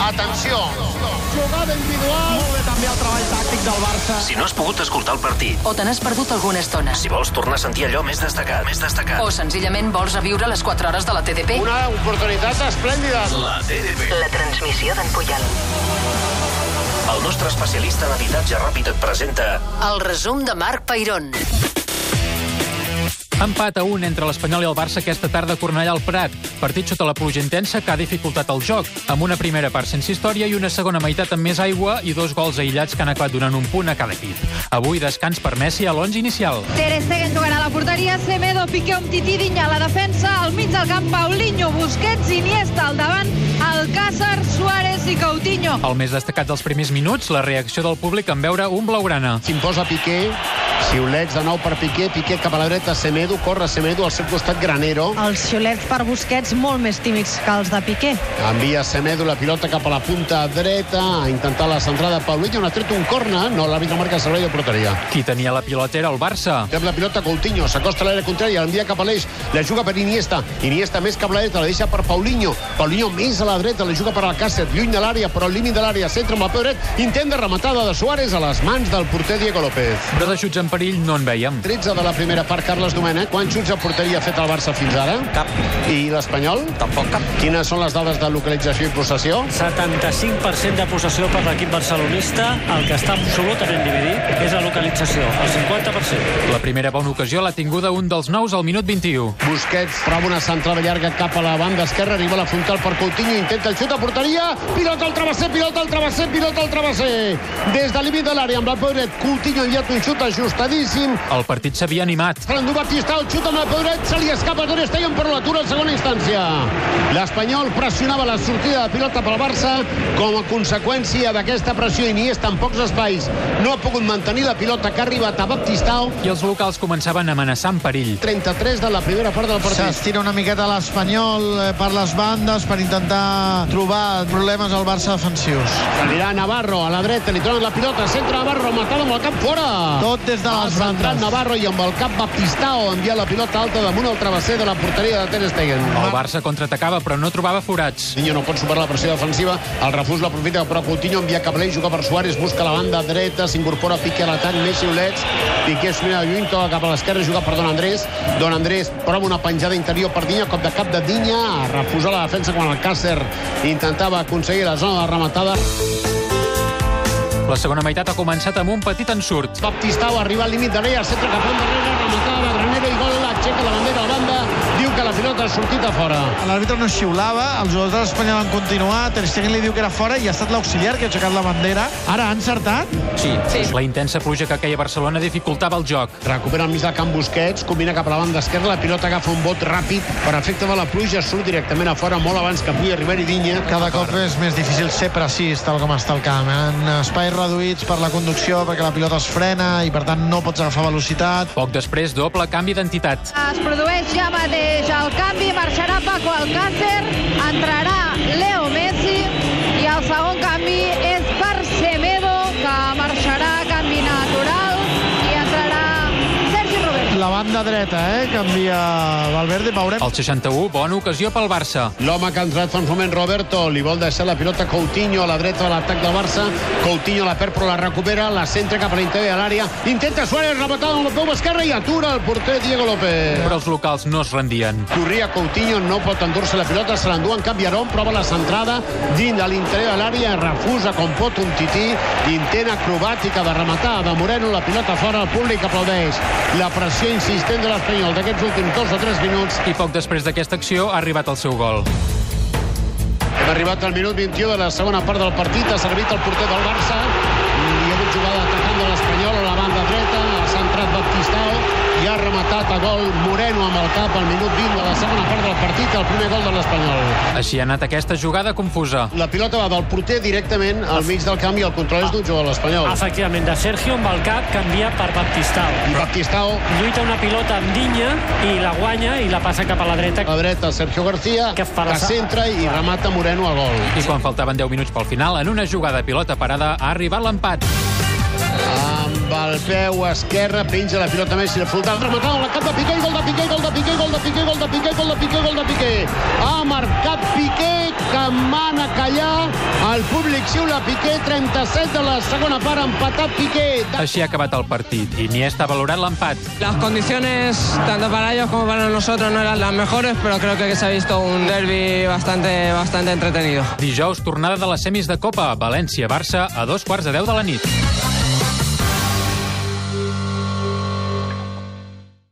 Atenció! Jugada individual. Molt bé també el treball tàctic del Barça. Si no has pogut escoltar el partit, o te n'has perdut alguna estona, si vols tornar a sentir allò més destacat, més destacat, o senzillament vols reviure les 4 hores de la TDP, Una oportunitat esplèndida. la TDP. la transmissió d'en Puyol. El nostre especialista en habitatge ràpid et presenta El resum de Marc Peirón. Empat a un entre l'Espanyol i el Barça aquesta tarda a Cornellà al Prat. Partit sota la pluja intensa que ha dificultat el joc, amb una primera part sense història i una segona meitat amb més aigua i dos gols aïllats que han acabat donant un punt a cada equip. Avui descans per Messi a l'11 inicial. Ter Stegen jugant a la porteria, Semedo, Piqué, Umtiti, Dinya a la defensa, al mig del camp Paulinho, Busquets, Iniesta al davant, Alcázar, Suárez i Coutinho. El més destacat dels primers minuts, la reacció del públic en veure un blaugrana. S'imposa Piqué, xiulets de nou per Piqué, Piqué cap a la dreta, Semedo, corre Semedo, al seu costat Granero, Els xiulets per Busquets molt més tímids que els de Piqué. envia Semedo la pilota cap a la punta dreta, a intentar la centrada Paulinho, n'ha tret un corna, no, l'àrbitre marca servei de porteria. Qui tenia la pilota era el Barça. Té amb la pilota Coutinho, s'acosta a l'àrea contrària, l'envia cap a l'eix, la juga per Iniesta, Iniesta més cap a la dreta, la deixa per Paulinho, Paulinho més a la dreta, la juga per Alcácer, lluny de l'àrea, però al límit de l'àrea, centre amb el peu dret, intent de rematada de Suárez a les mans del porter Diego López. Però de xuts en perill no en veiem. 13 de la primera part, Carles Domènech. Quants xuts a porteria ha fet el Barça fins ara? Cap. I l'Espanyol? Tampoc cap. Quines són les dades de localització i possessió? 75% de possessió per l'equip barcelonista, el que està absolutament dividit és la localització, el 50%. La primera bona ocasió l'ha tinguda un dels nous al minut 21. Busquets prova una centrada llarga cap a la banda esquerra, arriba a la frontal per Coutinho, intenta el xut a porteria, pilota al travesser, pilota al travesser, pilota al travesser. Des del límit de l'àrea amb la peu dret, Coutinho ha enviat un xut ajustadíssim, El partit s'havia animat. Fernando Batista, el xut amb el peu dret, se li escapa Ter Stegen, però l'atura en segona instància. L'Espanyol pressionava la sortida de pilota pel Barça. Com a conseqüència d'aquesta pressió, Iniesta en pocs espais no ha pogut mantenir la pilota que ha arribat a Baptistao. I els locals començaven a amenaçar en perill. 33 de la primera part del partit. S'estira una miqueta l'Espanyol eh, per les bandes per intentar trobar problemes al Barça defensius. Anirà Navarro a la dreta, li troben la pilota, centre Navarro, matada amb el cap fora. Tot des de Ha les centrat bandes. Navarro i amb el cap Baptistao envia la pilota alta damunt el travesser de la porteria de Ter Stegen. El Barça contraatacava però no trobava forats. Niño no pot superar la pressió defensiva, el refús l'aprofita, però Coutinho envia cap a l'ell, juga per Suárez, busca la banda dreta, s'incorpora Piqué a l'atac, més xiulets, Piqué es mira lluny, toca cap a l'esquerra, juga per Don Andrés, Don Andrés prova una penjada interior per Dinya, cop de cap de Dinya, a refusar la defensa quan el Càcer intentava aconseguir la zona de rematada. La segona meitat ha començat amb un petit ensurt. Baptistau arriba al límit de l'àrea, centre cap endarrere, rematada de Granero i gol, aixeca la bandera a banda, diu que la pilota ha sortit a fora. L'àrbitre no xiulava, els jugadors de l'Espanyol han continuat, Ter Stegen li diu que era fora i ha estat l'auxiliar que ha aixecat la bandera. Ara ha encertat? Sí. sí. La intensa pluja que queia a Barcelona dificultava el joc. Recupera el mig del camp Busquets, combina cap a la banda esquerra, la pilota agafa un bot ràpid, per efecte de la pluja surt directament a fora molt abans que pugui arribar i Dinya. Cada cop és més difícil ser precís, tal com està el camp. eh? En espais reduïts per la conducció, perquè la pilota es frena i, per tant, no pots agafar velocitat. Poc després, doble canvi d'entitat. Es produeix ja mateix el canvi, marxarà Paco Alcácer, entrarà Leo Messi i el segon canvi és per Semedo, que marxarà a canvi natural i entrarà Sergi Roberto. La banda dreta, eh? Canvia Valverde, veurem. Al 61, bona ocasió pel Barça. L'home que ha entrat fa un moment, Roberto, li vol deixar la pilota a Coutinho a la dreta de l'atac del Barça. Coutinho la perd però la recupera, la centra cap a l'interior de l'àrea. Intenta Suárez, rematada amb el peu esquerre i atura el porter Diego López. Però els locals no es rendien. Corria Coutinho, no pot endur-se la pilota, se l'endú en cap Llarón, prova la centrada dins de l'interior de l'àrea, refusa com pot un tití, intent acrobàtica de rematar de Moreno, la pilota fora, el públic aplaudeix. La pressió insistent de l'Espanyol d'aquests últims dos o tres minuts. I poc després d'aquesta acció ha arribat el seu gol. Hem arribat al minut 21 de la segona part del partit, ha servit el porter del Barça, hi ha hagut jugada atacant de l'Espanyol a la banda dreta, ha centrat Baptistao i ha rematat a gol Moreno amb el cap al minut 20 de la segona part del partit, el primer gol de l'Espanyol. Així ha anat aquesta jugada confusa. La pilota va del porter directament al mig del camp i el control és d'un jugador de l'Espanyol. Efectivament, de Sergio amb el cap canvia per Baptistao. I Baptistao Lluita una pilota amb Dinya i la guanya i la passa cap a la dreta. a la dreta, Sergio García, que, Que fa la sa- centra i remata Moreno a gol. I quan faltaven 10 minuts pel final, en una jugada a pilota parada, ha arribat l'empat. Amb el peu esquerre penja la pilota Messi, la flota, rematada amb la cap de Piqué, i gol de Piqué, gol de Piqué, gol de Piqué, gol de Piqué, gol de Piqué, gol de Piqué. Ha marcat Piqué, que mana callar el El públic xiula Piqué, 37 de la segona part, empatat Piqué. Així ha acabat el partit. Iniesta ha valorat l'empat. Las condiciones, tanto para ellos como para nosotros, no eran las mejores, pero creo que se ha visto un derby bastante, bastante entretenido. Dijous, tornada de les semis de Copa. València-Barça a dos quarts de deu de la nit.